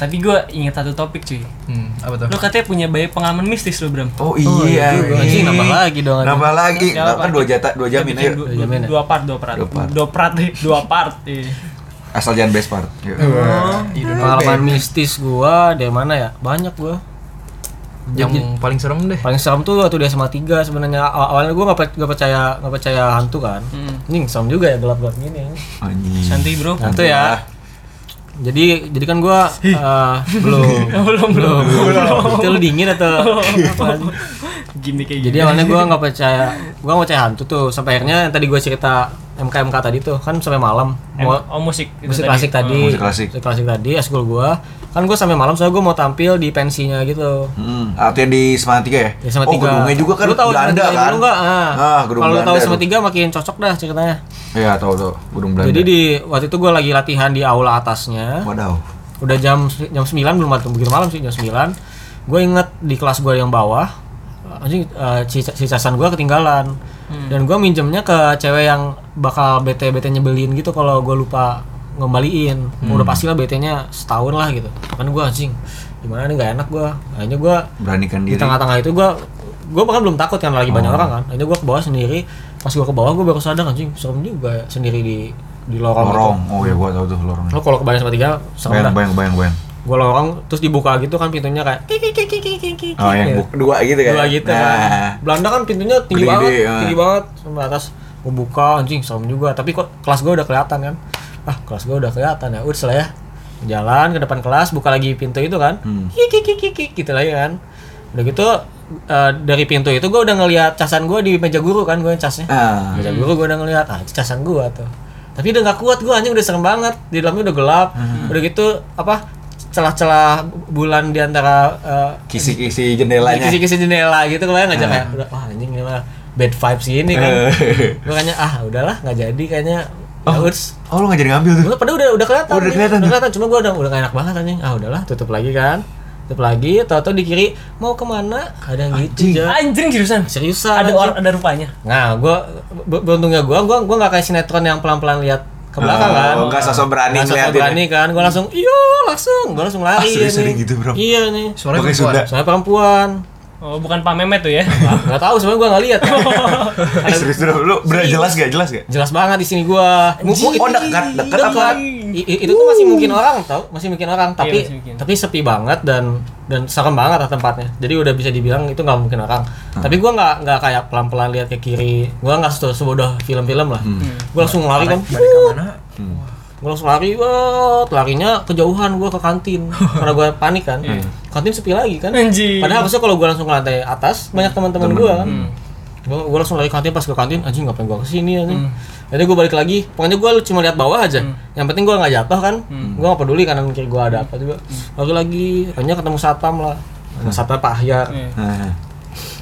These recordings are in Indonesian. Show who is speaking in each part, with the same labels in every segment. Speaker 1: gue inget satu topik cuy
Speaker 2: Hmm, apa tuh?
Speaker 1: Lu katanya punya bayi pengaman mistis lu Bram
Speaker 2: Oh
Speaker 3: Oh,
Speaker 2: iya.
Speaker 3: iya juga.
Speaker 2: weh.
Speaker 3: Anjing, nambah lagi dong, anjing.
Speaker 2: Nambah lagi.
Speaker 1: Nggak apa-apa.
Speaker 2: Kan dua jata, dua jamin
Speaker 1: Kita bikin
Speaker 2: ayo.
Speaker 1: dua,
Speaker 3: Jamin, ya?
Speaker 1: dua part, dua part
Speaker 2: Dua part.
Speaker 1: Dua part, nih, dua part iya.
Speaker 2: Asal jangan Iya. best part. Yuk.
Speaker 3: Iya.
Speaker 4: Iya. Oh,
Speaker 3: Pengalaman mistis gua dari mana ya? Banyak gua.
Speaker 4: yang paling serem deh
Speaker 3: Paling serem tuh waktu di SMA 3 sebenarnya Aw- awalnya gua nggak pe- nggak percaya nggak percaya hantu kan.
Speaker 1: Hmm.
Speaker 3: Ini serem juga ya gelap-gelap gini.
Speaker 2: Anjing.
Speaker 1: Santai bro
Speaker 3: Hantu ya. Jadi jadi kan gua eh, belum
Speaker 1: Belum, belum
Speaker 3: Itu lu dingin atau apaan?
Speaker 1: Gini kayak gini
Speaker 3: Jadi awalnya gua nggak percaya, gua nggak percaya hantu tuh. Sampai akhirnya yang tadi gua cerita MKMK tadi tuh kan sampai malam.
Speaker 1: Em-
Speaker 3: Mau
Speaker 1: Oh musik itu Oh,
Speaker 3: musik klasik tadi,
Speaker 2: Musik klasik.
Speaker 3: tadi, eskul gua kan gua sampai malam soalnya gua mau tampil di pensinya gitu.
Speaker 2: Hmm, atau yang di Semangat 3 ya?
Speaker 3: Ya, sama
Speaker 2: oh, gedungnya juga kan
Speaker 3: lu tahu
Speaker 2: Belanda
Speaker 3: Semat tiga
Speaker 2: kan?
Speaker 3: Dulu nggak? Ah,
Speaker 2: Ah, gedung
Speaker 3: Kalau lu
Speaker 2: Belanda.
Speaker 3: tahu sama
Speaker 2: tuh.
Speaker 3: tiga makin cocok dah ceritanya.
Speaker 2: Iya, tahu tahu. Gedung Belanda.
Speaker 3: Jadi di waktu itu gua lagi latihan di aula atasnya.
Speaker 2: Waduh.
Speaker 3: udah jam jam 9 belum atau begitu malam sih jam 9 gue inget di kelas gue yang bawah anjing eh, si, si casan gue ketinggalan dan gue minjemnya ke cewek yang bakal bete bete nyebelin gitu kalau gue lupa ngembaliin
Speaker 2: Hmm.
Speaker 3: udah pastilah bete nya setahun lah gitu kan gue anjing gimana nih nggak enak gue akhirnya gue
Speaker 2: Beranikan
Speaker 3: di
Speaker 2: diri.
Speaker 3: tengah-tengah itu gue gue bahkan belum takut kan lagi
Speaker 2: Oh.
Speaker 3: banyak orang kan akhirnya gue ke bawah sendiri pas gue ke bawah gue baru sadar anjing serem juga ya, sendiri di di lorong,
Speaker 2: Lorong. Oh ya, gua tahu tuh lorongnya.
Speaker 3: gitu. lo kalau kebayang sama tiga serem dah
Speaker 2: Bayang, bayang, bayang, bayang.
Speaker 3: gue lorong terus dibuka gitu kan pintunya kayak kik, kik, kik, kik, kik, kik, kik,
Speaker 2: Oh, yang
Speaker 3: gitu.
Speaker 2: buk- dua gitu kan.
Speaker 3: dua gitu
Speaker 2: Nah.
Speaker 3: kan Belanda kan pintunya tinggi
Speaker 2: Gede-gede,
Speaker 3: banget
Speaker 2: ah.
Speaker 3: tinggi banget sampai atas gue buka anjing serem juga tapi kok kelas gue udah kelihatan kan ah kelas gue udah kelihatan ya udah lah ya jalan ke depan kelas buka lagi pintu itu kan
Speaker 2: Hmm.
Speaker 3: kik, kik, kik, kik, kik, gitu lagi kan udah gitu eh, dari pintu itu gue udah ngelihat casan gue di meja guru kan gue casnya
Speaker 2: Ah.
Speaker 3: Meja guru gue udah ngeliat, ah itu casan gue tuh. Tapi udah nggak kuat gue anjing udah serem banget. Di dalamnya udah gelap.
Speaker 2: Hmm.
Speaker 3: Udah gitu apa celah-celah bulan di antara eh,
Speaker 2: Kisi-kisi jendelanya.
Speaker 3: kisi-kisi jendela gitu kebayang
Speaker 2: Ah.
Speaker 3: aja kayak udah wah anjing ini mah bad vibes ini kan.
Speaker 2: Eh.
Speaker 3: gue kayaknya ah udahlah nggak jadi kayaknya. Oh. Udah,
Speaker 2: Oh, lu nggak jadi ngambil tuh. Oh,
Speaker 3: padahal udah udah kelihatan.
Speaker 2: Udah
Speaker 3: nih,
Speaker 2: kelihatan
Speaker 3: Udah
Speaker 2: tuh.
Speaker 3: kelihatan cuma gue udah udah gak enak banget anjing. Ah udahlah tutup lagi kan. Tutup lagi, tau-tau di kiri mau kemana? Ada yang gitu, Ja.
Speaker 1: Anjing seriusan
Speaker 3: Seriusan.
Speaker 1: Ada
Speaker 3: anjing.
Speaker 1: orang, ada rupanya
Speaker 3: Nah, gua be- beruntungnya gua gua gua nggak kayak sinetron yang pelan-pelan lihat ke belakang
Speaker 2: Oh,
Speaker 3: kan.
Speaker 2: nggak sosok berani
Speaker 3: Nggak sosok
Speaker 2: ngeliatin ya?
Speaker 3: berani kan. Gua langsung, "Iyo, langsung." Gua langsung
Speaker 2: Ah,
Speaker 3: lari.
Speaker 2: serius
Speaker 3: ya
Speaker 2: ada
Speaker 3: nih.
Speaker 2: gitu, Bro?
Speaker 3: Iya nih.
Speaker 4: suaranya
Speaker 2: Pakai
Speaker 4: perempuan.
Speaker 2: Sunda.
Speaker 3: Soalnya perempuan.
Speaker 1: Oh bukan Pak Memet tuh ya
Speaker 3: Enggak tahu sebenarnya gua nggak lihat. kan.
Speaker 2: Eh, serius dulu. Lu bener jelas gak? Jelas gak?
Speaker 3: Jelas banget di sini gua. Mu- mu-
Speaker 2: Oh, dekat, dekat apa?
Speaker 3: Dekat. I- i- itu tuh masih mungkin orang tau, masih mungkin orang, tapi
Speaker 1: masih mungkin.
Speaker 3: tapi sepi banget dan dan serem banget lah tempatnya. Jadi udah bisa dibilang itu nggak mungkin orang.
Speaker 2: Hmm.
Speaker 3: Tapi gua nggak nggak kayak pelan-pelan lihat ke kiri. Gua nggak se- sebodoh film-film lah.
Speaker 2: Hmm.
Speaker 3: Gua langsung lari kan.
Speaker 4: Balik ke mana?
Speaker 3: Gue langsung lari, wah, larinya kejauhan gue ke kantin karena gue panik kan. Kantin sepi lagi kan.
Speaker 1: Hmm. Anjing. Hmm.
Speaker 3: Padahal harusnya kalau gue langsung ke lantai atas banyak teman-teman gue kan. Gue gue langsung lari ke kantin pas ke kantin, anjing ngapain gue kesini anjing.
Speaker 1: Hmm.
Speaker 3: Jadi gue balik lagi, pokoknya gue cuma lihat bawah aja. Yang penting gue nggak jatuh kan.
Speaker 1: Hmm.
Speaker 3: Gue nggak peduli karena mikir gue ada apa juga. Lagi lagi, hanya ketemu satpam lah. Satpam Pak Ahyar.
Speaker 1: Iya.
Speaker 2: Nah.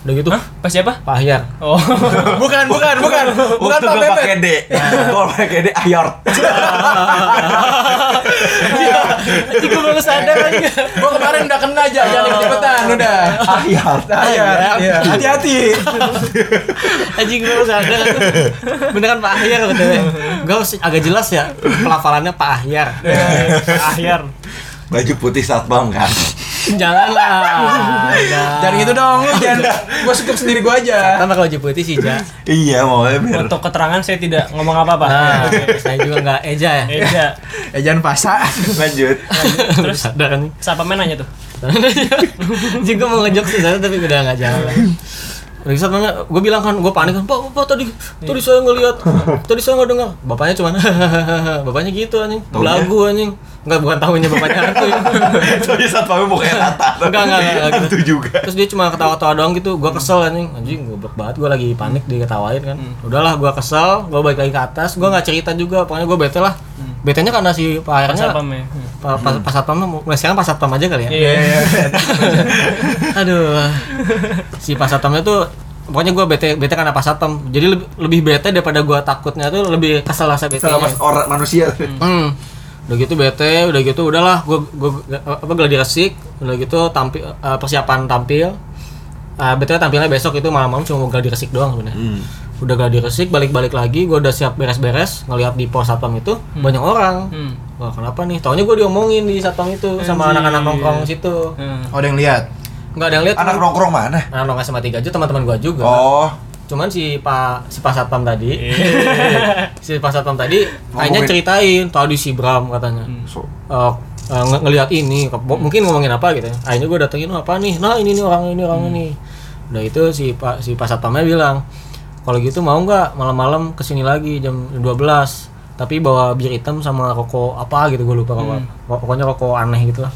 Speaker 3: Udah gitu,
Speaker 1: Hmm. Hah? Pas siapa?
Speaker 3: Pak Ahyar.
Speaker 1: Oh
Speaker 3: Bukan, bukan, bukan.
Speaker 2: Bukan Pak Bebek. Pakai D. Kalau pakai D ayort.
Speaker 1: Nanti gue Iya. baru sadar aja
Speaker 4: Gua kemarin udah kena aja, Eh, jangan ikut-ikutan udah.
Speaker 2: Ayort.
Speaker 4: Iya.
Speaker 3: Hati-hati. Anjing gue harus ada. Beneran Pak Ahyar btw. Gue harus agak jelas ya pelafalannya Pak Ahyar.
Speaker 1: Eh, Akhir
Speaker 2: Baju putih satpam kan.
Speaker 3: Jalan lah. Iya.
Speaker 4: Jangan gitu dong, lu jangan. Gua suka sendiri gua aja.
Speaker 3: Karena kalau Djibouti sih ja.
Speaker 2: Iya, mau biar.
Speaker 1: Untuk keterangan saya tidak ngomong apa-apa
Speaker 3: Nah, saya juga nggak eja ya.
Speaker 1: Eja
Speaker 4: Eh jangan pasah.
Speaker 2: Lanjut.
Speaker 3: Terus sadar nih.
Speaker 1: Siapa main nanya tuh?
Speaker 3: Juga mau ngejok sih saya tapi udah nggak jalan. Lagi sama gue bilang kan, gue panik kan, pak, pak tadi, tadi saya ngeliat, tadi saya nggak dengar. Bapaknya cuman, bapaknya gitu anjing,
Speaker 2: Taunya?
Speaker 3: lagu anjing, nggak bukan tahunya bapaknya ya. hantu.
Speaker 2: Soalnya satpamnya mukanya tata.
Speaker 3: Enggak, enggak, enggak, enggak gitu.
Speaker 2: Itu juga.
Speaker 3: Terus dia cuma ketawa-tawa doang gitu. Gua kesel anjing. Anjing goblok banget gua lagi panik diketawain kan.
Speaker 1: Hmm.
Speaker 3: Udahlah gua kesel, gua balik lagi ke atas, gua nggak cerita juga. Pokoknya gua bete lah. Betenya karena si Pak
Speaker 1: Hmm. Pas
Speaker 3: Airnya
Speaker 1: apa main?
Speaker 3: Pas pas pas satpam tuh, mulai sekarang pas satpam aja kali ya.
Speaker 1: Iya
Speaker 3: Aduh. Si pas satpamnya tuh pokoknya gua bete bete karena pas satpam. Jadi lebih, lebih bete daripada gua takutnya tuh lebih kesel rasa bete.
Speaker 2: Sama orang manusia.
Speaker 3: Hmm. Udah gitu bete, udah gitu udahlah gua gua apa geladi resik, udah gitu tampil eh, persiapan tampil. Eh bete tampilnya besok itu malam-malam cuma mau geladi resik doang sebenarnya.
Speaker 2: Hmm.
Speaker 3: Udah geladi resik balik-balik lagi, gua udah siap beres-beres ngelihat di pos satpam itu banyak orang.
Speaker 1: Hmm.
Speaker 3: wah kenapa nih taunya gue diomongin di satpam itu sama
Speaker 1: Anjir.
Speaker 3: anak-anak nongkrong situ
Speaker 1: Hmm.
Speaker 4: Oh, ada yang lihat.
Speaker 3: nggak ada yang lihat
Speaker 2: Anak nongkrong mana?
Speaker 3: anak Nah, nongkrong SMA 3 aja teman-teman gue juga
Speaker 2: Oh,
Speaker 3: cuman si pak si pak satpam
Speaker 1: Iya.
Speaker 3: tadi si pak satpam tadi
Speaker 2: Ngomongin.
Speaker 3: kayaknya ceritain tadi si Bram katanya
Speaker 2: so,
Speaker 3: eh, eh, nge- ngelihat ini ke- bo- mungkin ngomongin apa gitu ya. akhirnya gue datengin "Oh, apa nih nah ini nih orang ini orang ini udah itu si pak si pak satpamnya bilang kalau gitu mau nggak malam-malam kesini lagi jam 12 tapi bawa bir hitam sama rokok apa gitu gue lupa rokok apa. Pok- pokoknya rokok aneh gitu lah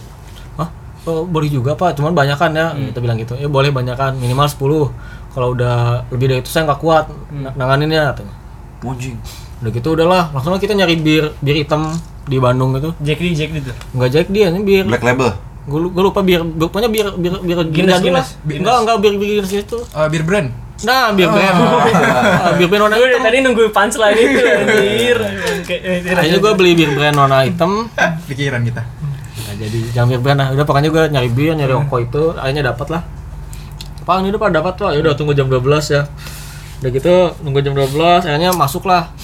Speaker 3: Hah? Oh, boleh juga pak cuman banyakan ya kita bilang gitu ya boleh banyakan minimal 10 kalau udah lebih dari itu saya nggak kuat na- nanganinnya katanya.
Speaker 2: anjing.
Speaker 3: udah gitu udahlah langsung kita nyari bir bir hitam di Bandung gitu
Speaker 1: Jack D, Jack D tuh.
Speaker 3: nggak Jack dia ini bir
Speaker 2: Black label.
Speaker 3: gue lupa bir bir- pokoknya bir bir bir
Speaker 1: Guinness,
Speaker 3: bir jadi lah
Speaker 1: Guinness, Guinness.
Speaker 3: enggak enggak bir bir Guinness itu
Speaker 4: Eh, bir brand.
Speaker 3: nah bir brand Ah, bir brand warna
Speaker 1: Gue
Speaker 3: hitam
Speaker 1: tadi nunggu punchline itu anjir. Kayak- eh,
Speaker 3: akhirnya gue beli bir brand warna hitam
Speaker 4: Pikiran kita.
Speaker 3: Nah, jadi jangan bir brand lah udah pokoknya gue nyari bir nyari
Speaker 2: Hmm.
Speaker 3: rokok itu akhirnya dapat lah Pak ini udah pada dapat pak ya udah tunggu jam 12 ya udah gitu nunggu jam 12 akhirnya masuk lah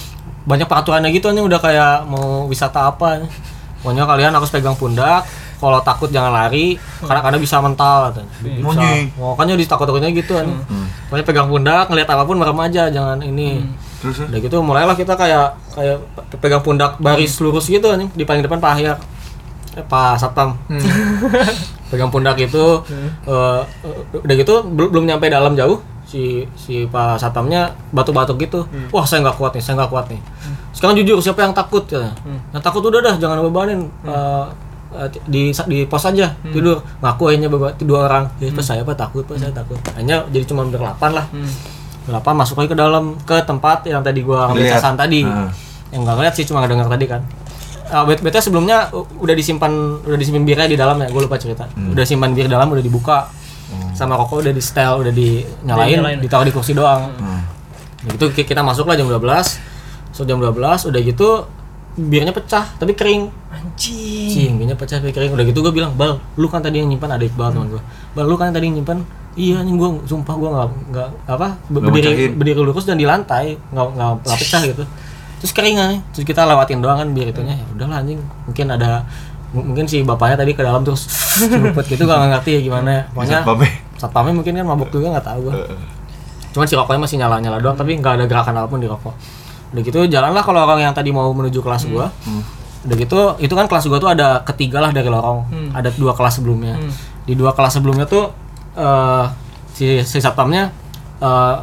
Speaker 3: banyak peraturannya gitu nih udah kayak mau wisata apa pokoknya kalian harus pegang pundak kalau takut jangan lari karena karena bisa mental katanya bisa
Speaker 2: Anjing. Hmm.
Speaker 3: makanya ditakut-takutnya gitu kan pokoknya pegang pundak ngelihat apapun merem aja jangan ini
Speaker 2: Hmm. Terus ya?
Speaker 3: udah gitu mulailah kita kayak kayak pe- pegang pundak baris lurus gitu anjing di paling depan Pak Ahyar eh, Pak Satpam pegang pundak itu eh, eh, udah gitu bel- belum nyampe dalam jauh si si Pak Satpamnya batuk-batuk gitu wah saya nggak kuat nih saya nggak kuat nih sekarang jujur siapa yang takut katanya yang takut udah dah jangan bebanin Eh, eh, di di pos aja tidur ngaku akhirnya beba- dua orang ya Pak, saya pak takut pak saya takut hanya jadi cuma berdelapan lah
Speaker 1: Hmm.
Speaker 3: Kenapa masuk lagi ke dalam ke tempat yang tadi gua ambil
Speaker 2: Lihat.
Speaker 3: casan tadi.
Speaker 2: Heeh.
Speaker 3: Yang nggak ngeliat sih cuma ngedenger tadi kan. Ah, bet betnya sebelumnya u- udah disimpan udah disimpan birnya di dalam ya, gue lupa cerita.
Speaker 2: Hmm.
Speaker 3: Udah simpan bir dalam udah dibuka. Sama rokok udah di setel, udah dinyalain,
Speaker 1: Dinyalain.
Speaker 3: ditaruh di kursi doang.
Speaker 2: Hmm.
Speaker 3: Nah, Gitu ki- kita masuk lah jam 12. So jam 12 udah gitu birnya pecah tapi kering.
Speaker 1: Anjing.
Speaker 3: Cingginya pecah tapi kering. Udah gitu gue bilang, "Bal, lu kan tadi yang nyimpan ada Iqbal teman gue." "Bal, lu kan tadi yang nyimpan." Iya, anjing gue sumpah gue nggak nggak apa be-
Speaker 2: Nggak
Speaker 3: berdiri
Speaker 2: mecahin.
Speaker 3: berdiri lurus dan di lantai nggak nggak nggak pecah gitu. Terus keringan, terus kita lewatin doang kan biar itunya ya udahlah anjing mungkin ada m- mungkin si bapaknya tadi ke dalam terus luput gitu gak ngerti ya gimana pokoknya
Speaker 2: Satpamnya. Eh,
Speaker 3: satpamnya mungkin kan mabuk juga nggak tahu gue cuman si rokoknya masih nyala nyala doang tapi nggak ada gerakan apapun di rokok udah gitu jalanlah kalau orang yang tadi mau menuju kelas gua udah gitu itu kan kelas gua tuh ada ketiga lah dari lorong ada dua kelas sebelumnya di dua kelas sebelumnya tuh eh si si satpamnya eh,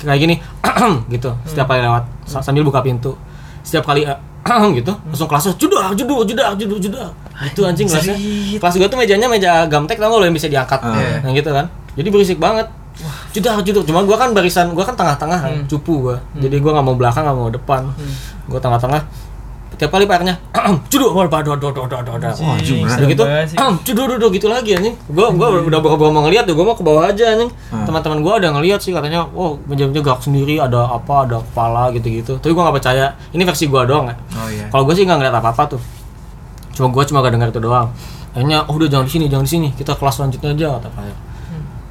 Speaker 3: kayak gini gitu setiap kali lewat sa- sambil buka pintu setiap kali eh, gitu langsung kelasnya judah judah judah judah judah itu anjing kelasnya kelas gua tuh mejanya meja gamtek tau gak lo yang bisa diangkat
Speaker 4: Iya.
Speaker 3: Nah gitu kan. Jadi berisik banget. Jedar jedar. Cuma gua kan barisan gua kan tengah-tengah kan, cupu gua. Jadi gua nggak mau belakang, nggak mau depan. Gua tengah-tengah. Tiap kali PR-nya, judo, waduh, waduh, waduh, waduh, waduh, waduh.
Speaker 2: Wah, anjing beneran.
Speaker 3: Udah gitu,
Speaker 1: Sabar sih.
Speaker 3: judo, judo, gitu lagi anjing. Gua gua udah bawa mau ngeliat tuh, gua mau ke bawah aja anjing. Teman-teman gua udah ngeliat sih katanya, "Wow, meja-meja gerak sendiri, ada apa, ada kepala gitu-gitu." Tapi gua nggak percaya. Ini versi gua doang ya.
Speaker 4: Oh iya.
Speaker 3: Kalau gue sih nggak ngeliat apa-apa tuh. Cuma gue cuma gak dengar itu doang. Akhirnya, oh udah jangan di sini, jangan di sini. Kita kelas selanjutnya aja kata Pak.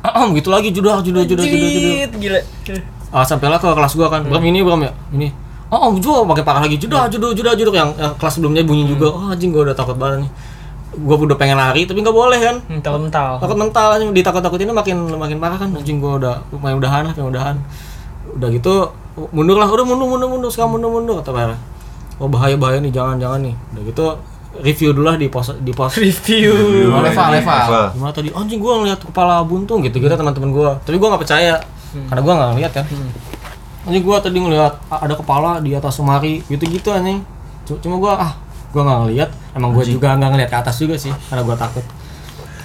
Speaker 3: Ahem, gitu lagi judah judah judah judah judah.
Speaker 1: Anjir, gila.
Speaker 3: Ah, sampailah ke kelas gua kan. Bram ini Bram ya. Ini. Oh, oh judah pakai parah lagi. Judah judah judah judah yang, yang kelas sebelumnya bunyi juga. Oh, anjing gua udah takut banget nih. Gua udah pengen lari tapi nggak boleh kan.
Speaker 1: Hmm, Mental-mental.
Speaker 3: Takut mental anjing ditakut-takutinnya makin makin parah kan anjing gua udah main udahan lah, pengen udahan. Udah gitu mundur lah, udah mundur mundur mundur sekarang mundur mundur kata Bara. Oh bahaya bahaya nih jangan jangan nih. Udah gitu review dulu lah di pos di pos
Speaker 1: Review.
Speaker 4: Oh, level,
Speaker 3: Ah.
Speaker 4: level.
Speaker 3: gimana tadi anjing gua ngeliat kepala buntung gitu gitu teman-teman gua tapi gua nggak percaya
Speaker 1: Hmm.
Speaker 3: karena gua nggak ngeliat kan anjing gua tadi ngeliat a- ada kepala di atas lemari gitu gitu anjing C- cuma gua ah gua nggak ngeliat emang gua juga nggak ngeliat ke atas juga sih karena gua takut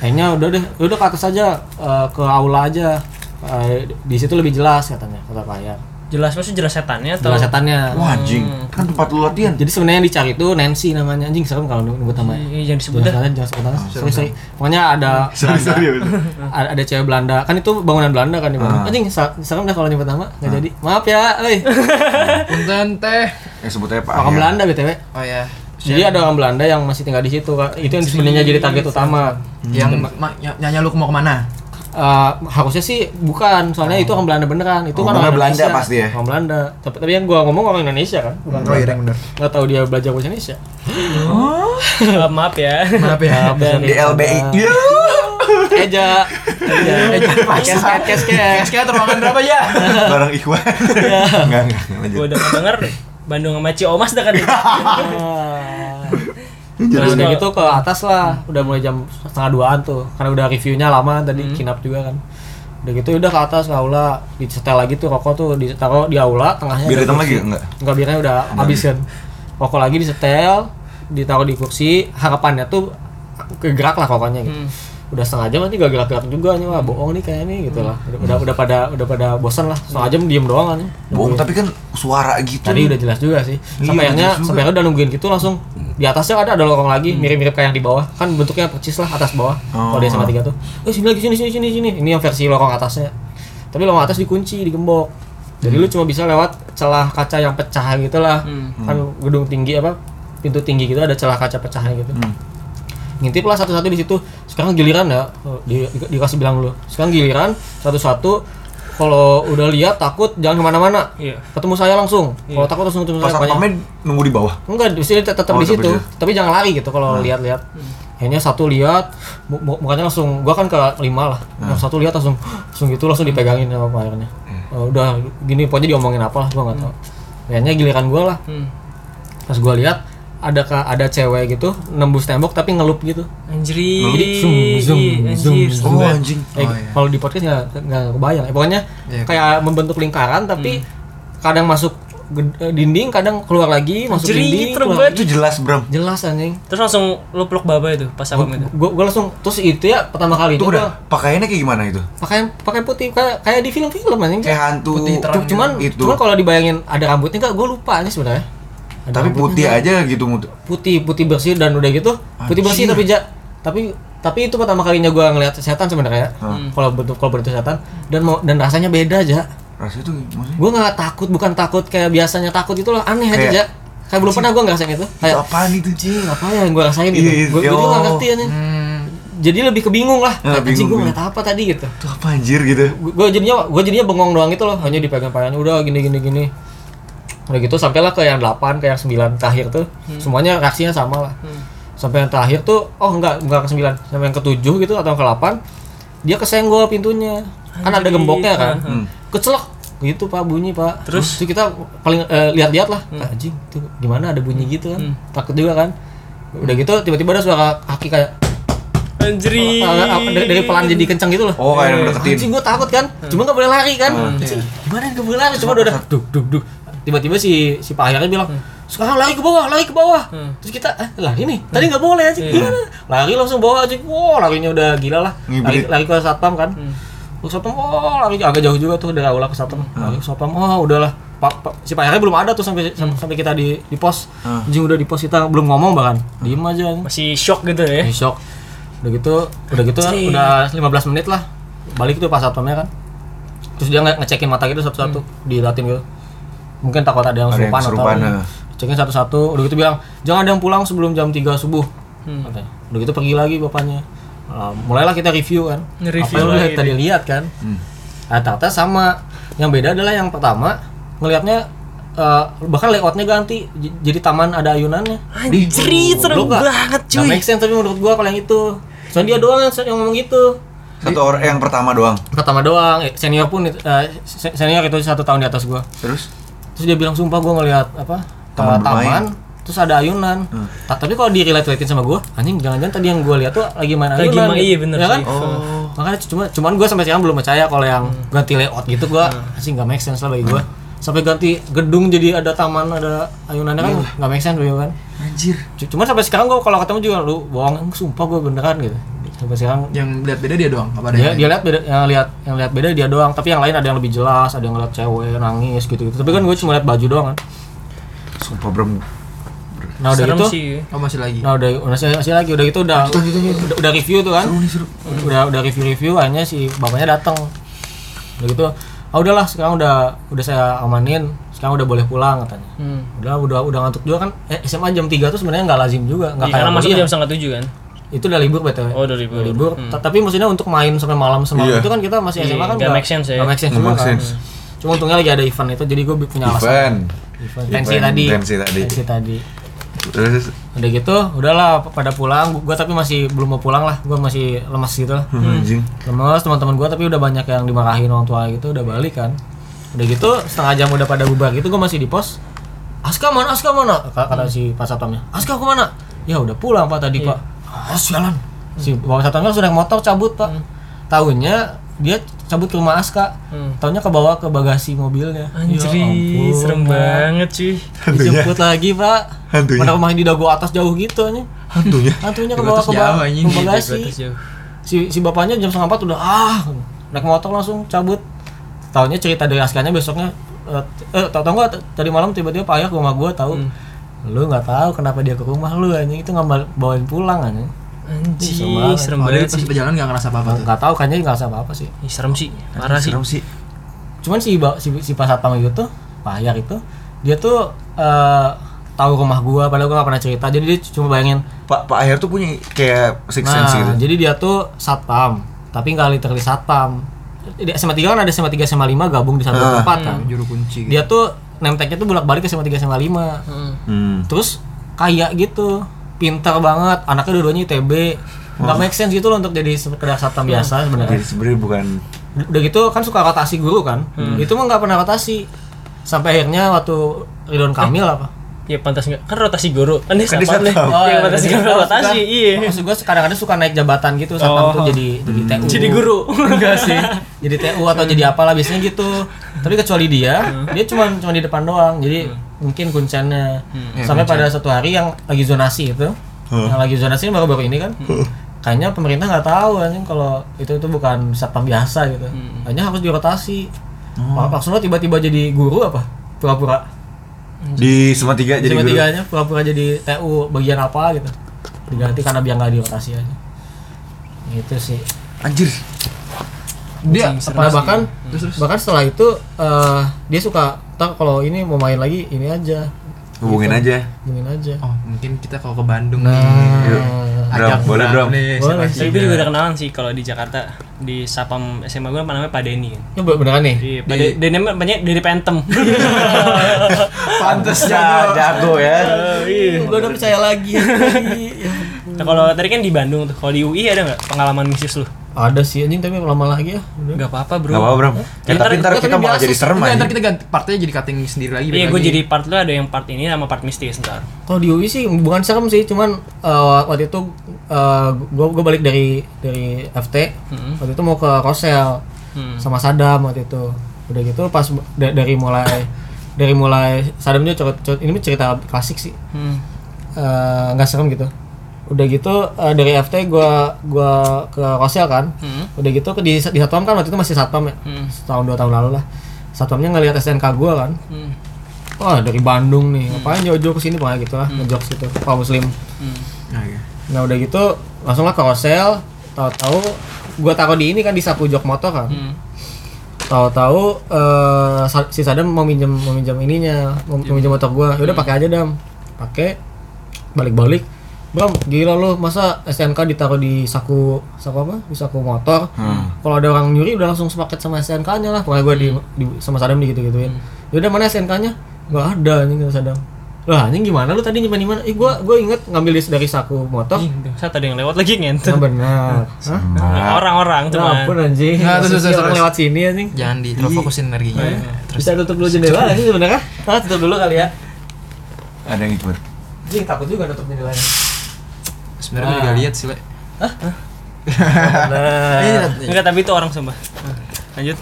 Speaker 3: kayaknya udah deh udah ke atas aja eh, ke aula aja Eh, di situ lebih jelas katanya kata Pak Ayar
Speaker 1: Jelas maksudnya jelas setannya atau
Speaker 3: jelas setannya
Speaker 2: Wah, anjing.
Speaker 3: Hmm.
Speaker 2: Kan tempat lu latihan.
Speaker 3: jadi sebenarnya yang dicari itu Nancy namanya anjing serem kalau nyebut namanya
Speaker 1: Iya, jangan disebut
Speaker 3: Jangan
Speaker 1: dah.
Speaker 3: salah, jangan sebut nama. Sorry, sorry. Pokoknya ada
Speaker 2: Sorry, sorry, ya, betul.
Speaker 3: ada, ada cewek Belanda. Kan itu bangunan Belanda kan di Bandung.
Speaker 2: Ah.
Speaker 3: Anjing, sa- serem dah kalau nyebut nama. Enggak jadi. Maaf ya, euy.
Speaker 4: Punten teh.
Speaker 2: Yang sebutnya Eh, Pak.
Speaker 3: Orang
Speaker 2: Ahyar.
Speaker 3: Belanda BTW.
Speaker 4: Oh iya.
Speaker 3: Jadi ada orang Belanda yang masih tinggal di situ, Kak. Itu yang sebenarnya jadi target utama.
Speaker 4: Yang ma- ma- ny- nanya lu mau kemana?
Speaker 3: eh, harusnya sih bukan, soalnya itu orang Belanda beneran. Itu
Speaker 2: Oh, karena
Speaker 3: kan orang
Speaker 2: Ah. Belanda
Speaker 3: Indonesia.
Speaker 2: pasti ya?
Speaker 3: Orang Belanda. Tapi, tapi yang gua ngomong orang Indonesia kan, bukan
Speaker 4: Oh iya bener.
Speaker 3: nggak tahu dia belajar bahasa Indonesia.
Speaker 1: Eh, maaf ya.
Speaker 4: Maaf ya.
Speaker 3: Dan
Speaker 2: DLBI. Ya.
Speaker 3: Eja, Eja,
Speaker 4: Eh,
Speaker 3: Eja, kes, kes, kes, kes.
Speaker 4: Kayaknya terowongan berapa
Speaker 2: Iya.
Speaker 4: ya?
Speaker 2: Barang Ikhwan.
Speaker 3: Iya.
Speaker 2: Enggak, enggak, lanjut.
Speaker 1: Gue udah denger Bandung sama Ciomas dah kan.
Speaker 3: Ah. Terus udah gitu ke atas lah, udah mulai jam setengah duaan tuh, karena udah reviewnya lama tadi kinap juga kan. Udah gitu udah ke atas ke aula, disetel lagi tuh rokok tuh ditaruh di aula tengahnya.
Speaker 2: Bir
Speaker 3: ada
Speaker 2: hitam
Speaker 3: kursi.
Speaker 2: lagi ya? enggak?
Speaker 3: Enggak birnya udah habis kan. Rokok lagi disetel, ditaruh di kursi, harapannya tuh kegerak lah rokoknya gitu. Udah setengah jam nanti gak gerak-gerak juga nih wah bohong nih kayaknya nih gitu lah. Udah, udah udah pada udah pada bosan lah. Setengah jam diem doang kan.
Speaker 2: Bohong tapi kan suara gitu.
Speaker 3: Tadi udah jelas juga sih.
Speaker 2: Iya,
Speaker 3: Sampai
Speaker 2: jelas
Speaker 3: akhirnya
Speaker 2: juga. Hmm.
Speaker 3: sampai akhirnya udah nungguin gitu langsung di atasnya ada ada lorong lagi mirip-mirip kayak yang di bawah. Kan bentuknya persis lah atas bawah.
Speaker 2: Oh.
Speaker 3: Kalau di SMA 3 tuh. Eh sini lagi sini sini sini sini. Ini yang versi lorong atasnya. Tapi lorong atas dikunci, digembok.
Speaker 2: Hmm.
Speaker 3: Jadi lu cuma bisa lewat celah kaca yang pecah gitu lah. Kan
Speaker 2: Hmm.
Speaker 3: gedung tinggi apa pintu tinggi gitu ada celah kaca pecahnya gitu.
Speaker 2: Hmm.
Speaker 3: Ngintip lah satu-satu di situ. Sekarang giliran ya oh, di, di- dikasih bilang lu. Sekarang giliran satu-satu kalau udah lihat takut jangan kemana-mana
Speaker 1: Iya.
Speaker 3: ketemu saya langsung. Kalau takut langsung ketemu
Speaker 2: Iya. Pas
Speaker 3: saya. banyak.
Speaker 2: satpamnya nunggu di bawah.
Speaker 3: Enggak, di sini tetap
Speaker 2: Oh,
Speaker 3: di
Speaker 2: tetap di
Speaker 3: situ.
Speaker 2: situ. Nah.
Speaker 3: Tapi jangan lari gitu kalau lihat-lihat.
Speaker 1: Hmm.
Speaker 3: Akhirnya satu lihat, mu- mu- mukanya langsung gua kan ke lima lah.
Speaker 2: Nah.
Speaker 3: Yang satu lihat langsung langsung gitu langsung dipegangin sama Pak akhirnya.
Speaker 2: Iya.
Speaker 3: Oh, udah gini pokoknya diomongin apa lah gua nggak tahu.
Speaker 2: Hmm.
Speaker 3: Kayaknya giliran gua lah.
Speaker 1: Hmm.
Speaker 3: Pas gua lihat ada ka- ada cewek gitu nembus tembok tapi ngelup gitu.
Speaker 1: Anjir.
Speaker 3: Jadi zoom, zoom,
Speaker 1: Anjir.
Speaker 3: zoom.
Speaker 2: Oh anjing.
Speaker 3: Eh, Kalau di podcast nggak nggak kebayang. Eh, pokoknya
Speaker 4: Iya.
Speaker 3: kayak membentuk lingkaran tapi
Speaker 1: Hmm.
Speaker 3: kadang masuk ged- eh, dinding, kadang keluar lagi, masuk
Speaker 1: Jerit,
Speaker 3: dinding,
Speaker 1: serem
Speaker 3: keluar
Speaker 1: banget.
Speaker 2: Itu jelas, Bram.
Speaker 3: jelas anjing
Speaker 1: Terus langsung lu peluk baba itu pas aku itu.
Speaker 3: gue gue langsung terus itu ya pertama kali
Speaker 2: Itu
Speaker 3: itu
Speaker 2: udah pakaiannya kayak gimana itu?
Speaker 3: pakaian pakaian putih kayak kayak di film-film anjing
Speaker 2: Kayak hantu.
Speaker 4: Putih terang
Speaker 2: Cuk-
Speaker 4: gitu.
Speaker 3: cuman
Speaker 2: itu.
Speaker 3: cuman kalau dibayangin ada rambutnya enggak gue lupa nih sebenarnya Ada
Speaker 2: Tapi
Speaker 3: rambut.
Speaker 2: putih aja gitu mutu.
Speaker 3: putih putih bersih dan udah gitu putih
Speaker 2: Anjir.
Speaker 3: bersih tapi ja, tapi tapi itu pertama kalinya gue ngelihat setan sebenarnya ya. Hmm. kalau bentuk kalau bentuk setan dan mau dan rasanya beda aja
Speaker 2: Rasanya tuh maksudnya
Speaker 3: gue nggak takut bukan takut kayak biasanya takut itulah aneh aja
Speaker 2: Kayak-
Speaker 3: ja kayak belum pernah gue ngerasain itu
Speaker 2: itu
Speaker 3: kayak
Speaker 2: apaan itu?
Speaker 3: anjing apa ya yang gue rasain gitu
Speaker 2: Iya,
Speaker 3: gue
Speaker 2: iya.
Speaker 3: juga nggak ngerti anjing jadi lebih kebingung lah
Speaker 2: Ya,
Speaker 3: kayak anjing
Speaker 2: bingung,
Speaker 3: gue
Speaker 2: bingung.
Speaker 3: ngeliat apa tadi gitu
Speaker 2: Itu apa anjir gitu?
Speaker 3: gue jadinya gue jadinya bengong doang gitu loh hanya dipegang tangannya udah gini gini gini udah gitu sampailah ke yang 8 ke yang 9 terakhir tuh
Speaker 1: Hmm.
Speaker 3: semuanya reaksinya sama lah sampai yang terakhir tuh oh enggak enggak ke 9 sampai yang ke 7 gitu atau ke 8 dia kesenggol pintunya kan ada
Speaker 1: Anjir.
Speaker 3: gemboknya kan
Speaker 1: Hmm.
Speaker 3: kecelok gitu pak bunyi pak
Speaker 1: Terus? Hmm.
Speaker 3: Terus kita paling eh, lihat-lihat lah "Ah, anjing tuh gimana ada bunyi gitu kan takut juga kan udah gitu tiba-tiba ada suara kaki kayak
Speaker 1: Anjir.
Speaker 3: eh, eh, dari, dari pelan jadi kencang gitu loh
Speaker 2: Oh, kayak yang deketin.
Speaker 3: Anjing gue takut kan, cuma gak boleh lari kan Anjing, Gimana gak boleh lari, cuma udah udah duk duk duk Tiba-tiba si si Pak Ahyarnya bilang Sekarang lari ke bawah, lari ke bawah Terus kita, eh lari nih, tadi gak boleh anjing gimana Lari langsung bawah anjing, wow larinya udah gila lah Lari,
Speaker 2: Ngibrit.
Speaker 3: lari ke Satpam kan Terus Satpam, oh lari agak jauh juga tuh dari aula ke Satpam Lari ke Satpam, oh udahlah Pak, Pak- si Pak Ahyarnya belum ada tuh sampai sam- sampai kita di di pos
Speaker 2: Hmm.
Speaker 3: Anjing udah di pos kita belum ngomong bahkan Diem aja anjing.
Speaker 1: Masih shock gitu ya.
Speaker 3: Di shock. Udah gitu, udah gitu
Speaker 1: Anjing.
Speaker 3: udah 15 menit lah. Balik tuh pas satpamnya kan. Terus dia nge- ngecekin mata gitu satu-satu,
Speaker 1: Hmm.
Speaker 3: dilatin gitu. Mungkin takut ada yang
Speaker 2: Ada yang
Speaker 3: serupan atau
Speaker 2: kesurupan,
Speaker 3: apa.
Speaker 2: nah.
Speaker 3: Cekin satu-satu, udah gitu bilang, "Jangan ada yang pulang sebelum jam 3 subuh."
Speaker 1: Hmm.
Speaker 3: katanya. Udah gitu pergi lagi bapaknya. Nah, mulailah kita review kan.
Speaker 1: Nge-review
Speaker 3: apa yang lu
Speaker 1: lagi
Speaker 3: lihat tadi lihat kan?
Speaker 2: Hmm.
Speaker 3: Nah, ternyata sama. Yang beda adalah yang pertama ngelihatnya eh, bahkan layoutnya ganti J- jadi taman ada ayunannya
Speaker 1: Anjir, serem
Speaker 3: Goblok nggak?
Speaker 1: banget cuy.
Speaker 3: Gak make sense tapi menurut gua kalau yang itu. Soalnya dia doang yang, yang ngomong gitu.
Speaker 2: Satu orang yang pertama doang.
Speaker 3: Pertama doang, eh, senior pun eh, se- senior itu satu tahun di atas gua.
Speaker 2: Terus
Speaker 3: Terus dia bilang sumpah gua ngelihat apa?
Speaker 2: Taman
Speaker 3: eh,
Speaker 2: bermain."
Speaker 3: taman terus ada ayunan.
Speaker 1: Hmm.
Speaker 3: Ta- tapi kalau di relate sama gua, anjing jangan-jangan tadi yang gua lihat tuh lagi main
Speaker 1: Lagi
Speaker 3: ayunan.
Speaker 1: main,
Speaker 3: gitu.
Speaker 1: iya bener
Speaker 3: Ya kan?
Speaker 1: sih.
Speaker 3: Oh. Makanya cuma cuman gua sampai sekarang belum percaya kalau yang
Speaker 1: Hmm.
Speaker 3: ganti layout gitu gua anjing nggak make sense lah bagi gua. Sampai ganti gedung jadi ada taman, ada ayunannya kan
Speaker 1: Iya.
Speaker 3: nggak make sense bagi gua kan.
Speaker 2: anjir.
Speaker 3: C- Cuman sampai sekarang gua kalau ketemu juga lu bohong, sumpah gua beneran gitu. Sampai sekarang
Speaker 4: Yang lihat beda dia doang apa ada
Speaker 3: dia,
Speaker 4: yang
Speaker 3: dia lihat beda yang lihat yang lihat beda dia doang, tapi yang lain ada yang lebih jelas, ada yang ngeliat cewek nangis gitu-gitu. Tapi kan gue cuma lihat baju doang kan.
Speaker 2: Sumpah Bram.
Speaker 3: Nah, udah
Speaker 1: Serem
Speaker 3: gitu.
Speaker 1: sih.
Speaker 4: lain? Oh masih lagi.
Speaker 3: Nah, udah udah masih, masih lagi udah gitu udah udah, udah review tuh kan. Udah udah review-review akhirnya si bapaknya datang. Udah gitu, ah udahlah sekarang udah udah saya amanin, sekarang udah boleh pulang katanya.
Speaker 1: Hmm.
Speaker 3: Udah udah udah ngantuk juga kan. Eh, SMA jam 3 tuh sebenarnya nggak lazim juga, nggak
Speaker 1: Iya, karena
Speaker 3: kayak
Speaker 1: masuk
Speaker 3: kuliah.
Speaker 1: jam setengah tujuh kan.
Speaker 3: itu udah libur btw
Speaker 1: Oh, udah libur.
Speaker 3: Udah libur
Speaker 1: Hmm.
Speaker 3: Ta- tapi maksudnya untuk main sampai malam semalam
Speaker 2: Iya.
Speaker 3: itu kan kita masih
Speaker 1: Iya,
Speaker 3: SMA kan
Speaker 1: nggak make sense ya.
Speaker 3: nggak make sense
Speaker 2: Nggak
Speaker 3: juga
Speaker 2: make
Speaker 3: kan.
Speaker 2: sense.
Speaker 3: cuma untungnya lagi ada event itu jadi gue punya alasan
Speaker 2: Event.
Speaker 3: Event.
Speaker 2: Event,
Speaker 3: tensi tadi
Speaker 2: tensi tadi.
Speaker 3: tensi tadi
Speaker 2: Terus
Speaker 3: udah gitu udahlah p- pada pulang gue tapi masih belum mau pulang lah gue masih lemas gitu lah
Speaker 2: anjing.
Speaker 3: lemas teman-teman gue tapi udah banyak yang dimarahin orang tua gitu udah balik kan udah gitu setengah jam udah pada bubar gitu gue masih di pos Aska mana Aska mana Ka- kata si pak satpamnya Aska kemana ya udah pulang pak tadi pak
Speaker 1: Iya.
Speaker 3: ah sialan si bapak satpamnya sudah motor cabut pak Taunya dia cabut ke rumah Aska
Speaker 1: Hmm.
Speaker 3: Taunya ke bawah ke bagasi mobilnya
Speaker 1: Anjir,
Speaker 3: Ya ampun, Iya
Speaker 1: serem
Speaker 3: Pak.
Speaker 1: banget cuy.
Speaker 2: Hantunya.
Speaker 3: Dijemput lagi pak
Speaker 2: Hantunya.
Speaker 3: Mana rumah yang di dagu atas jauh gitu anjing
Speaker 2: Hantunya.
Speaker 3: Hantunya ke
Speaker 4: Dagu
Speaker 3: bawah
Speaker 4: atas
Speaker 3: ke bawah
Speaker 4: jauh, anjing.
Speaker 3: ke bagasi
Speaker 1: Batas jauh.
Speaker 3: si, si bapaknya jam setengah empat udah ah naik motor langsung cabut Taunya cerita dari askanya besoknya eh, eh tau tau nggak t- tadi malam tiba-tiba pak Ayah ke rumah gua tahu
Speaker 2: Hmm.
Speaker 3: lu nggak tahu kenapa dia ke rumah lu anjing itu nggak bawain pulang anjing
Speaker 1: Anjir, serem
Speaker 4: Padahal
Speaker 1: banget
Speaker 4: Oh, pas
Speaker 1: sih.
Speaker 4: berjalan nggak ngerasa apa-apa tuh.
Speaker 3: nggak tahu kayaknya nggak usah apa apa sih
Speaker 1: Ih, serem sih, parah sih.
Speaker 2: Serem sih.
Speaker 3: cuman si ba- si, si Pak Satpam itu tuh Pak Ayar itu dia tuh eh, tahu rumah gua padahal gua nggak pernah cerita jadi dia cuma bayangin
Speaker 2: Pak Pak Aher tuh punya kayak six
Speaker 3: Nah,
Speaker 2: sense gitu.
Speaker 3: jadi dia tuh satpam, tapi nggak literally satpam. Di SMA 3 kan ada SMA 3 SMA 5 gabung di satu
Speaker 2: Ah.
Speaker 3: tempat kan.
Speaker 4: Juru kunci. gitu.
Speaker 3: Dia tuh nemteknya tuh bolak-balik ke SMA 3 SMA 5.
Speaker 1: Heeh.
Speaker 2: Hmm.
Speaker 3: Terus kayak gitu, pintar banget, anaknya dua-duanya ITB. Nggak make sense gitu loh untuk jadi sekedar satpam
Speaker 1: Iya.
Speaker 3: biasa sebenarnya.
Speaker 2: Jadi sebenarnya bukan
Speaker 3: Udah gitu kan suka rotasi guru kan.
Speaker 1: Hmm.
Speaker 3: Itu mah nggak pernah rotasi. Sampai akhirnya waktu
Speaker 1: Eh.
Speaker 3: Ridwan Kamil apa? Oh,
Speaker 1: Ya pantas enggak? Kan rotasi guru. Kan dia
Speaker 2: Kan dia
Speaker 1: satpam nih.
Speaker 2: satpam.
Speaker 1: Ya pantas enggak rotasi. Iya.
Speaker 3: Maksud gue kadang-kadang suka naik jabatan gitu satpam
Speaker 1: Oh.
Speaker 3: tuh jadi jadi TU.
Speaker 1: Jadi guru.
Speaker 3: Enggak Iya sih. Jadi TU atau jadi apalah biasanya gitu. Tapi kecuali dia, dia cuma cuma di depan doang. Jadi mungkin kuncennya.
Speaker 2: Iya,
Speaker 3: Sampai pada satu hari yang lagi zonasi itu.
Speaker 2: Hmm.
Speaker 3: Yang lagi zonasi ini baru-baru ini kan. Kayaknya pemerintah nggak tahu anjing kalau itu itu bukan satpam biasa gitu. Kayaknya harus dirotasi.
Speaker 2: Hmm.
Speaker 3: Pak Paksuno tiba-tiba jadi guru apa? Pura-pura.
Speaker 2: di Suma tiga jadi
Speaker 3: Cuma
Speaker 2: guru.
Speaker 3: tiganya pura-pura jadi TU bagian apa gitu. Diganti karena biar nggak dirotasi aja. Gitu sih.
Speaker 2: Anjir.
Speaker 3: Dia
Speaker 1: Anjing, serem
Speaker 3: nah,
Speaker 1: sih.
Speaker 3: bahkan bahkan setelah itu eh, dia suka tak kalau ini mau main lagi ini aja.
Speaker 2: Hubungin
Speaker 3: Gitu.
Speaker 2: aja.
Speaker 3: Hubungin aja.
Speaker 4: Oh, mungkin kita kalau ke Bandung nih.
Speaker 2: Yuk. Drum, boleh drum.
Speaker 4: Nih,
Speaker 3: Boleh.
Speaker 4: siapa
Speaker 1: Tapi
Speaker 4: sih?
Speaker 1: gue juga udah kenalan sih kalau di Jakarta di Sapam SMA gue apa namanya Pak Denny kan.
Speaker 3: Ini beneran nih.
Speaker 1: Di Pak De- Denny mah banyak dari Pentem.
Speaker 4: Pantes jago.
Speaker 2: Ya, jago ya.
Speaker 3: Gue udah percaya lagi. ya.
Speaker 1: Nah, kalau tadi kan di Bandung tuh. Kalau di UI ada nggak pengalaman misis lu?
Speaker 3: Ada sih anjing tapi lama lagi ya.
Speaker 1: Gak
Speaker 3: Udah.
Speaker 1: apa-apa, Bro.
Speaker 2: Enggak apa-apa, Bram. Ya,
Speaker 1: Ntar-
Speaker 2: tapi ntar
Speaker 4: Nggak,
Speaker 2: kita
Speaker 4: tapi
Speaker 2: malah
Speaker 4: biasa.
Speaker 2: jadi serem
Speaker 4: Nggak, Ntar
Speaker 2: aja.
Speaker 4: kita ganti partnya jadi cutting sendiri lagi.
Speaker 1: Iya,
Speaker 4: balik
Speaker 1: gue
Speaker 4: lagi.
Speaker 1: jadi part lu ada yang part ini sama part mistis ntar.
Speaker 3: Kalau di UI sih bukan serem sih, cuman eh, waktu itu gue gue balik dari dari FT, waktu itu mau ke Rosel sama Sadam waktu itu. Udah gitu pas da- dari mulai dari mulai Sadam juga cerita, ini mah cerita klasik sih,
Speaker 1: Hmm,
Speaker 3: Eh, nggak serem gitu. Udah gitu eh, dari FT gue gua ke Rosel kan,
Speaker 1: hmm,
Speaker 3: udah gitu ke- di di satpam kan waktu itu masih satpam ya, setahun dua tahun lalu lah. Satpamnya ngelihat SNK gue kan,
Speaker 1: hmm,
Speaker 3: Wah dari Bandung nih, ngapain jauh-jauh ke sini pokoknya gitu lah, ngejokes gitu, kalau muslim.
Speaker 1: hmm.
Speaker 4: Nah, iya.
Speaker 3: Nah udah gitu, langsung lah ke Rosel, tahu-tahu gua taruh di ini kan di sapu jok motor kan. Tahu-tahu eh, Sa- si Sadam mau minjem mau minjem ininya, mau
Speaker 4: Iya.
Speaker 3: mau minjem motor gua. Ya udah pakai aja, Dam. Pakai balik-balik. Bram, gila lu, masa SNK ditaruh di saku saku apa? Di saku motor.
Speaker 4: Hmm.
Speaker 3: Kalau ada orang nyuri udah langsung sepaket sama SNK-nya lah. Pokoknya gua di, di- sama Sadam digitu-gituin.
Speaker 4: Hmm.
Speaker 3: Ya udah mana SNK-nya? Gak ada anjing kata Sadam. Lah, anjing gimana lu tadi nyimpan di mana? Ih, gua gua inget ngambil di- dari saku motor.
Speaker 1: Ih, Saat ada yang lewat lagi
Speaker 3: Nah,
Speaker 1: ngentut.
Speaker 3: benar. Hah?
Speaker 1: Orang-orang
Speaker 3: Ya
Speaker 1: cuman.
Speaker 3: ampun anjing.
Speaker 4: Nah, terus,
Speaker 3: Maksudnya
Speaker 4: terus,
Speaker 3: orang
Speaker 4: terus. Ya.
Speaker 3: lewat sini anjing.
Speaker 4: Jangan di terlalu fokusin energinya.
Speaker 3: Bisa tutup dulu jendela anjing sebenarnya. Ah, tutup dulu kali ya.
Speaker 2: Ada yang ikut.
Speaker 3: Anjing takut juga tutup jendelanya.
Speaker 4: Sebenarnya gue juga lihat sih, Le.
Speaker 3: Nah.
Speaker 1: Enggak, tapi itu orang sumpah. Nah, Iya, Lanjut.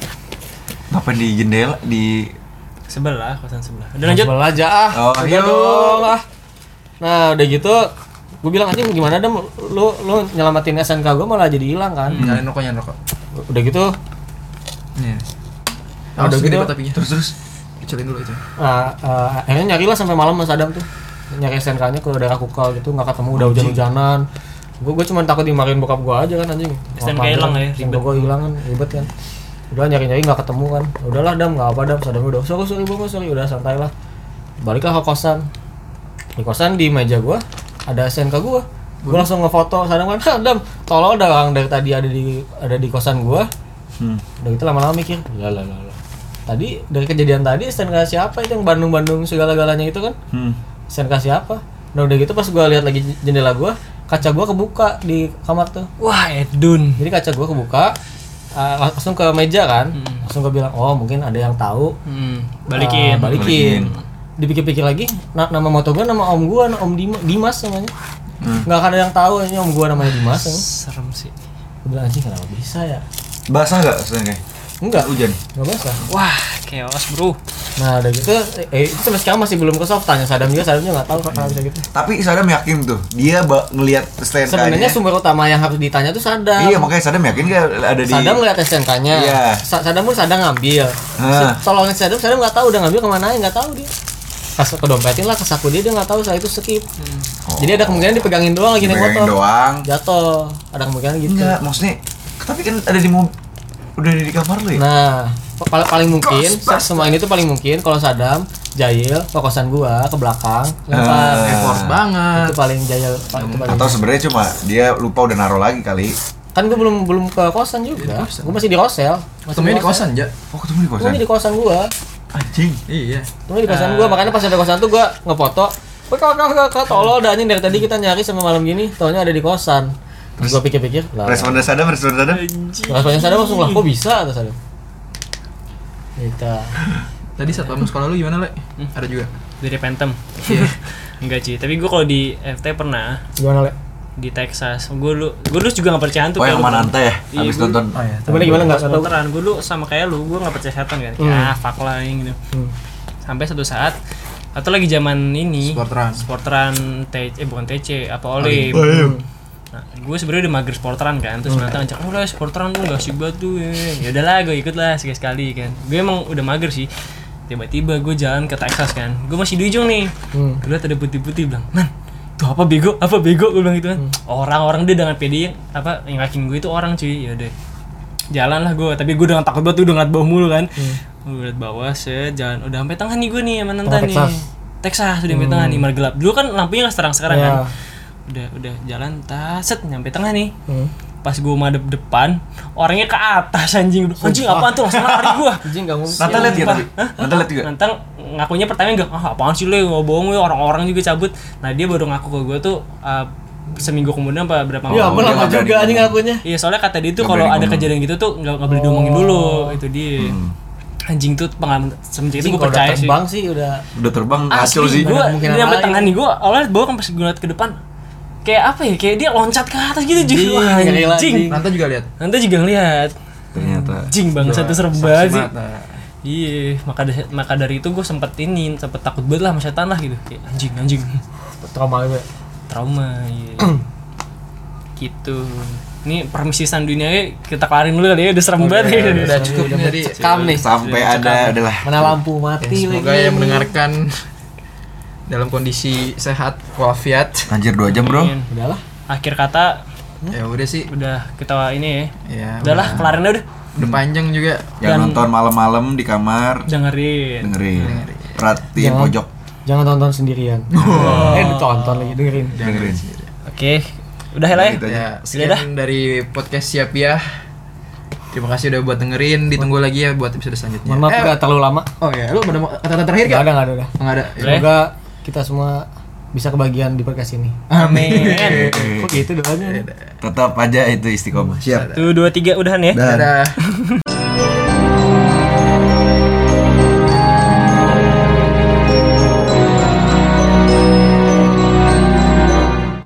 Speaker 2: Ngapain di jendela di
Speaker 1: Sebelah, kosan sebelah. Udah lanjut.
Speaker 3: Sebelah aja ah.
Speaker 2: Oh,
Speaker 3: Udah
Speaker 2: iya.
Speaker 3: dong ah. Nah, udah gitu gue bilang anjing gimana dam lu lu nyelamatin SNK gue malah jadi hilang kan.
Speaker 4: Nyalain rokok, nyalain rokok. Iya.
Speaker 3: Udah gitu
Speaker 4: Nih.
Speaker 3: Nah, udah
Speaker 4: Awas gede
Speaker 3: gitu.
Speaker 4: banget tapinya.
Speaker 2: terus terus
Speaker 4: Kecilin dulu itu.
Speaker 3: ah, ah, akhirnya nyarilah sampai malam Mas Adam tuh. Nyari SNK-nya ke daerah Kukal gitu nggak ketemu udah hujan-hujanan. Gue gue cuma takut dimarahin bokap gue aja kan anjing.
Speaker 1: SNK
Speaker 3: Apa-apa
Speaker 1: hilang
Speaker 3: kan,
Speaker 1: ya,
Speaker 3: SNK gue hilang kan ribet kan. Udah nyari-nyari nggak ketemu kan. Udahlah Dam nggak apa Dam sadam udah "Oh, sorry sorry bokap sorry udah santai lah. Baliklah ke kosan. Di kosan di meja gue ada SNK gue.
Speaker 1: Hmm.
Speaker 3: gue langsung ngefoto kadang kan "Hah, dam tolol dah orang dari tadi ada di ada di kosan gue
Speaker 2: Hmm.
Speaker 3: udah gitu lama-lama mikir lah lah lah lah. tadi dari kejadian tadi STNK siapa itu yang Bandung-Bandung segala-galanya itu kan
Speaker 2: Hmm.
Speaker 3: STNK siapa nah udah gitu pas gue lihat lagi jendela gue kaca gue kebuka di kamar tuh
Speaker 1: Wah, Edun.
Speaker 3: jadi kaca gue kebuka eh, langsung ke meja kan langsung gue bilang oh mungkin ada yang tahu
Speaker 1: Hmm,
Speaker 3: Eh,
Speaker 1: balikin.
Speaker 3: balikin. Dipikir-pikir lagi, na- nama moto gue nama om gue, nama om Dima- Dimas namanya. Nggak ada yang tahu ini om gue namanya Dimas. Ya.
Speaker 1: Serem sih.
Speaker 3: Gue bilang anjing kenapa bisa ya?
Speaker 2: Basah nggak sebenarnya?
Speaker 3: Enggak,
Speaker 2: Hujan.
Speaker 3: nggak basah.
Speaker 1: Wah, chaos, Bro.
Speaker 3: Nah, udah gitu, eh, itu sampai sekarang masih belum ke soft. Tanya Sadam juga, Sadam juga nggak tahu kenapa bisa gitu.
Speaker 2: Tapi Sadam yakin tuh, dia ba- ngelihat STNK-nya.
Speaker 3: Sebenarnya sumber utama yang harus ditanya tuh Sadam.
Speaker 2: Iya makanya Sadam yakin nggak ada di.
Speaker 3: Sadam ngeliat STNK-nya.
Speaker 2: Iya.
Speaker 3: Sa- Sadam pun Sadam ngambil.
Speaker 2: Ah.
Speaker 3: Tolongin Sadam, Sadam nggak tahu udah ngambil kemana, nggak tahu dia. Pas kedompetin lah, ke saku dia dia nggak tahu. Saya itu skip.
Speaker 2: Oh.
Speaker 3: Jadi ada kemungkinan dipegangin doang lagi naik
Speaker 2: Dipegangin
Speaker 3: motor.
Speaker 2: doang. Iya.
Speaker 3: Jatuh. Ada kemungkinan gitu.
Speaker 2: Enggak, maksudnya tapi kan ada di mobil udah ada di kamar lu ya?
Speaker 3: Nah, pa- paling paling mungkin se- semua ini tuh paling mungkin kalau Sadam jahil fokusan gua ke belakang lempar.
Speaker 2: Ah.
Speaker 4: Effort banget.
Speaker 3: Itu paling jahil pa- itu paling.
Speaker 2: Atau sebenarnya cuma dia lupa udah naruh lagi kali.
Speaker 3: Kan gua belum belum ke kosan juga. Gua masih di hostel. Masih
Speaker 4: Ketemunya di kosan, Ja.
Speaker 2: Oh ketemu di
Speaker 3: Gua
Speaker 2: kosan.
Speaker 3: di kosan gua.
Speaker 2: Anjing.
Speaker 4: Iya.
Speaker 3: Gua di kosan gua makanya pas sampai kosan tuh gua ngefoto. Wah, kau kau kau kau tolol dah anjing dari tadi kita nyari sampai malam gini, taunya ada di kosan. Terus gua pikir-pikir, lah.
Speaker 2: Respon dari Sadam, respon dari Sadam.
Speaker 3: Iya, Responnya Sadam langsung lah, kok bisa atas Sadam. Gitu.
Speaker 4: Tadi saat pamung sekolah lu gimana, Le? Ada juga.
Speaker 1: Dari Phantom. Iya. Enggak sih, tapi gue kalau di FT pernah
Speaker 3: Gimana, Le?
Speaker 1: di Texas. Gue lu, gue lu juga nggak percayaan tuh.
Speaker 2: Oh
Speaker 1: kayak
Speaker 2: yang
Speaker 1: lu.
Speaker 2: mana Anta ya?
Speaker 1: Iya,
Speaker 2: Habis
Speaker 1: gua-
Speaker 2: nonton.
Speaker 4: ya.
Speaker 3: Gimana gimana enggak tahu.
Speaker 1: Beneran, gue lu sama kayak lu, gue nggak percaya setan kan. Kayak,
Speaker 3: Hmm.
Speaker 1: Ah, fuck lah yang gitu. Sampai satu saat atau lagi zaman ini
Speaker 4: Sporteran.
Speaker 1: sporteran T- eh bukan TC apa Olim. Nah, gue sebenarnya udah mager sporteran kan, terus
Speaker 3: Hmm.
Speaker 1: Nata ngajak, oh lah sporteran tuh gak asik banget tuh, ya udahlah gue ikut lah sekali sekali kan. Gue emang udah mager sih. Tiba-tiba gue jalan ke Texas kan, gue masih di ujung nih.
Speaker 3: Hmm.
Speaker 1: Gue liat ada putih-putih bilang, man, tuh apa bego, apa bego gue bilang gitu
Speaker 3: Hmm.
Speaker 1: kan. Orang-orang dia dengan PD yang- apa yang yakin gue itu orang cuy, ya udah. Jalan lah gue, tapi gue udah takut banget tuh udah ngeliat bawah mulu kan.
Speaker 3: Hmm.
Speaker 1: Gue liat bawah, set, jalan, udah sampai tengah nih gue nih sama Nanta
Speaker 3: Tengah
Speaker 1: nih.
Speaker 3: Texas. Hmm.
Speaker 1: Texas udah sampai tengah nih, mar gelap. Dulu kan lampunya nggak seterang sekarang
Speaker 3: Iya.
Speaker 1: kan udah udah jalan taset nyampe tengah nih
Speaker 3: Hmm.
Speaker 1: pas gue madep depan orangnya ke atas anjing anjing apaan tuh langsung lari gue
Speaker 3: Anjing enggak mungkin.
Speaker 2: Nanta lihat ya tapi.
Speaker 1: Hah?
Speaker 2: Nanta lihat juga.
Speaker 1: Nanti ngakunya pertama enggak, ah apaan sih lu ya, bohong lu orang-orang juga cabut. Nah dia baru ngaku ke gue tuh uh, seminggu kemudian apa berapa
Speaker 3: Ya,
Speaker 2: Oh,
Speaker 3: ampun
Speaker 2: dia
Speaker 3: lama
Speaker 2: nggak berani
Speaker 3: juga anjing
Speaker 2: ngomong.
Speaker 3: ngakunya.
Speaker 1: Iya soalnya kata dia tuh
Speaker 2: Nggak
Speaker 1: kalau
Speaker 2: berani
Speaker 1: ada
Speaker 2: ngomong.
Speaker 1: kejadian gitu tuh nggak nggak boleh diomongin dulu itu dia. Anjing tuh pengalaman semenjak itu
Speaker 3: Anjing
Speaker 1: gue
Speaker 3: kalau udah
Speaker 1: percaya sih.
Speaker 3: terbang sih udah
Speaker 2: Udah terbang
Speaker 1: Asli,
Speaker 2: kacau sih.
Speaker 1: gue
Speaker 3: Nggak mungkin
Speaker 1: dia sampai
Speaker 3: lain.
Speaker 1: tengah nih gue awalnya bawa kan pas gue liat ke depan kayak apa ya kayak dia loncat ke atas gitu jadi wah
Speaker 3: Anjing, gila,
Speaker 1: anjing
Speaker 4: Nanta juga lihat.
Speaker 1: nanti juga ngeliat
Speaker 2: Ternyata.
Speaker 1: anjing bang satu serem
Speaker 4: Saksi
Speaker 1: banget sih
Speaker 4: mata.
Speaker 1: iya maka da- maka dari itu gue sempet ini sempet takut banget lah sama setan lah gitu kayak anjing anjing
Speaker 3: trauma gue.
Speaker 1: trauma iya gitu ini permisi san dunia ya, kita kelarin dulu kali ya udah
Speaker 2: Oh,
Speaker 1: serem
Speaker 2: iya,
Speaker 1: banget ya.
Speaker 4: Udah cukup nih tadi.
Speaker 3: Iya, Cekam nih.
Speaker 2: Sampai ada adalah.
Speaker 3: Mana lampu mati
Speaker 4: Semoga
Speaker 3: lagi.
Speaker 4: yang mendengarkan dalam kondisi sehat walafiat.
Speaker 2: Anjir 2 jam bro.
Speaker 1: Amin.
Speaker 3: Udahlah.
Speaker 1: akhir kata
Speaker 4: Ya udah sih.
Speaker 1: udah kita ini ya
Speaker 4: Ya.
Speaker 1: udahlah kelarin aja Hmm? udah
Speaker 4: Udah panjang juga.
Speaker 2: Yang
Speaker 1: Dan-
Speaker 2: nonton malam-malam di kamar
Speaker 1: dengerin
Speaker 2: dengerin. Perhatiin
Speaker 3: Iya. Jangan.
Speaker 2: pojok
Speaker 3: Jangan tonton sendirian.
Speaker 4: Oh.
Speaker 3: Eh, ditonton lagi, dengerin.
Speaker 2: dengerin.
Speaker 1: Oke, udah lah ya.
Speaker 2: Gitu aja.
Speaker 4: Ya, sekian dari podcast Siap Ya. Terima kasih udah buat dengerin, ditunggu lagi ya buat episode selanjutnya.
Speaker 3: Mohon maaf
Speaker 4: Eh,
Speaker 3: nggak terlalu lama.
Speaker 4: Oh ya, lu ada mau- kata-kata terakhir gak?
Speaker 3: Enggak ada, enggak ada udah.
Speaker 4: Enggak ada.
Speaker 1: Boleh.
Speaker 3: Semoga kita semua bisa kebagian di podcast ini.
Speaker 1: Amin.
Speaker 4: Eh,
Speaker 3: Kok gitu doanya?
Speaker 2: Tetap aja itu istiqomah. Siap.
Speaker 3: Eh,
Speaker 1: Tuh dua tiga udahan ya.
Speaker 2: Dan.
Speaker 4: Dadah.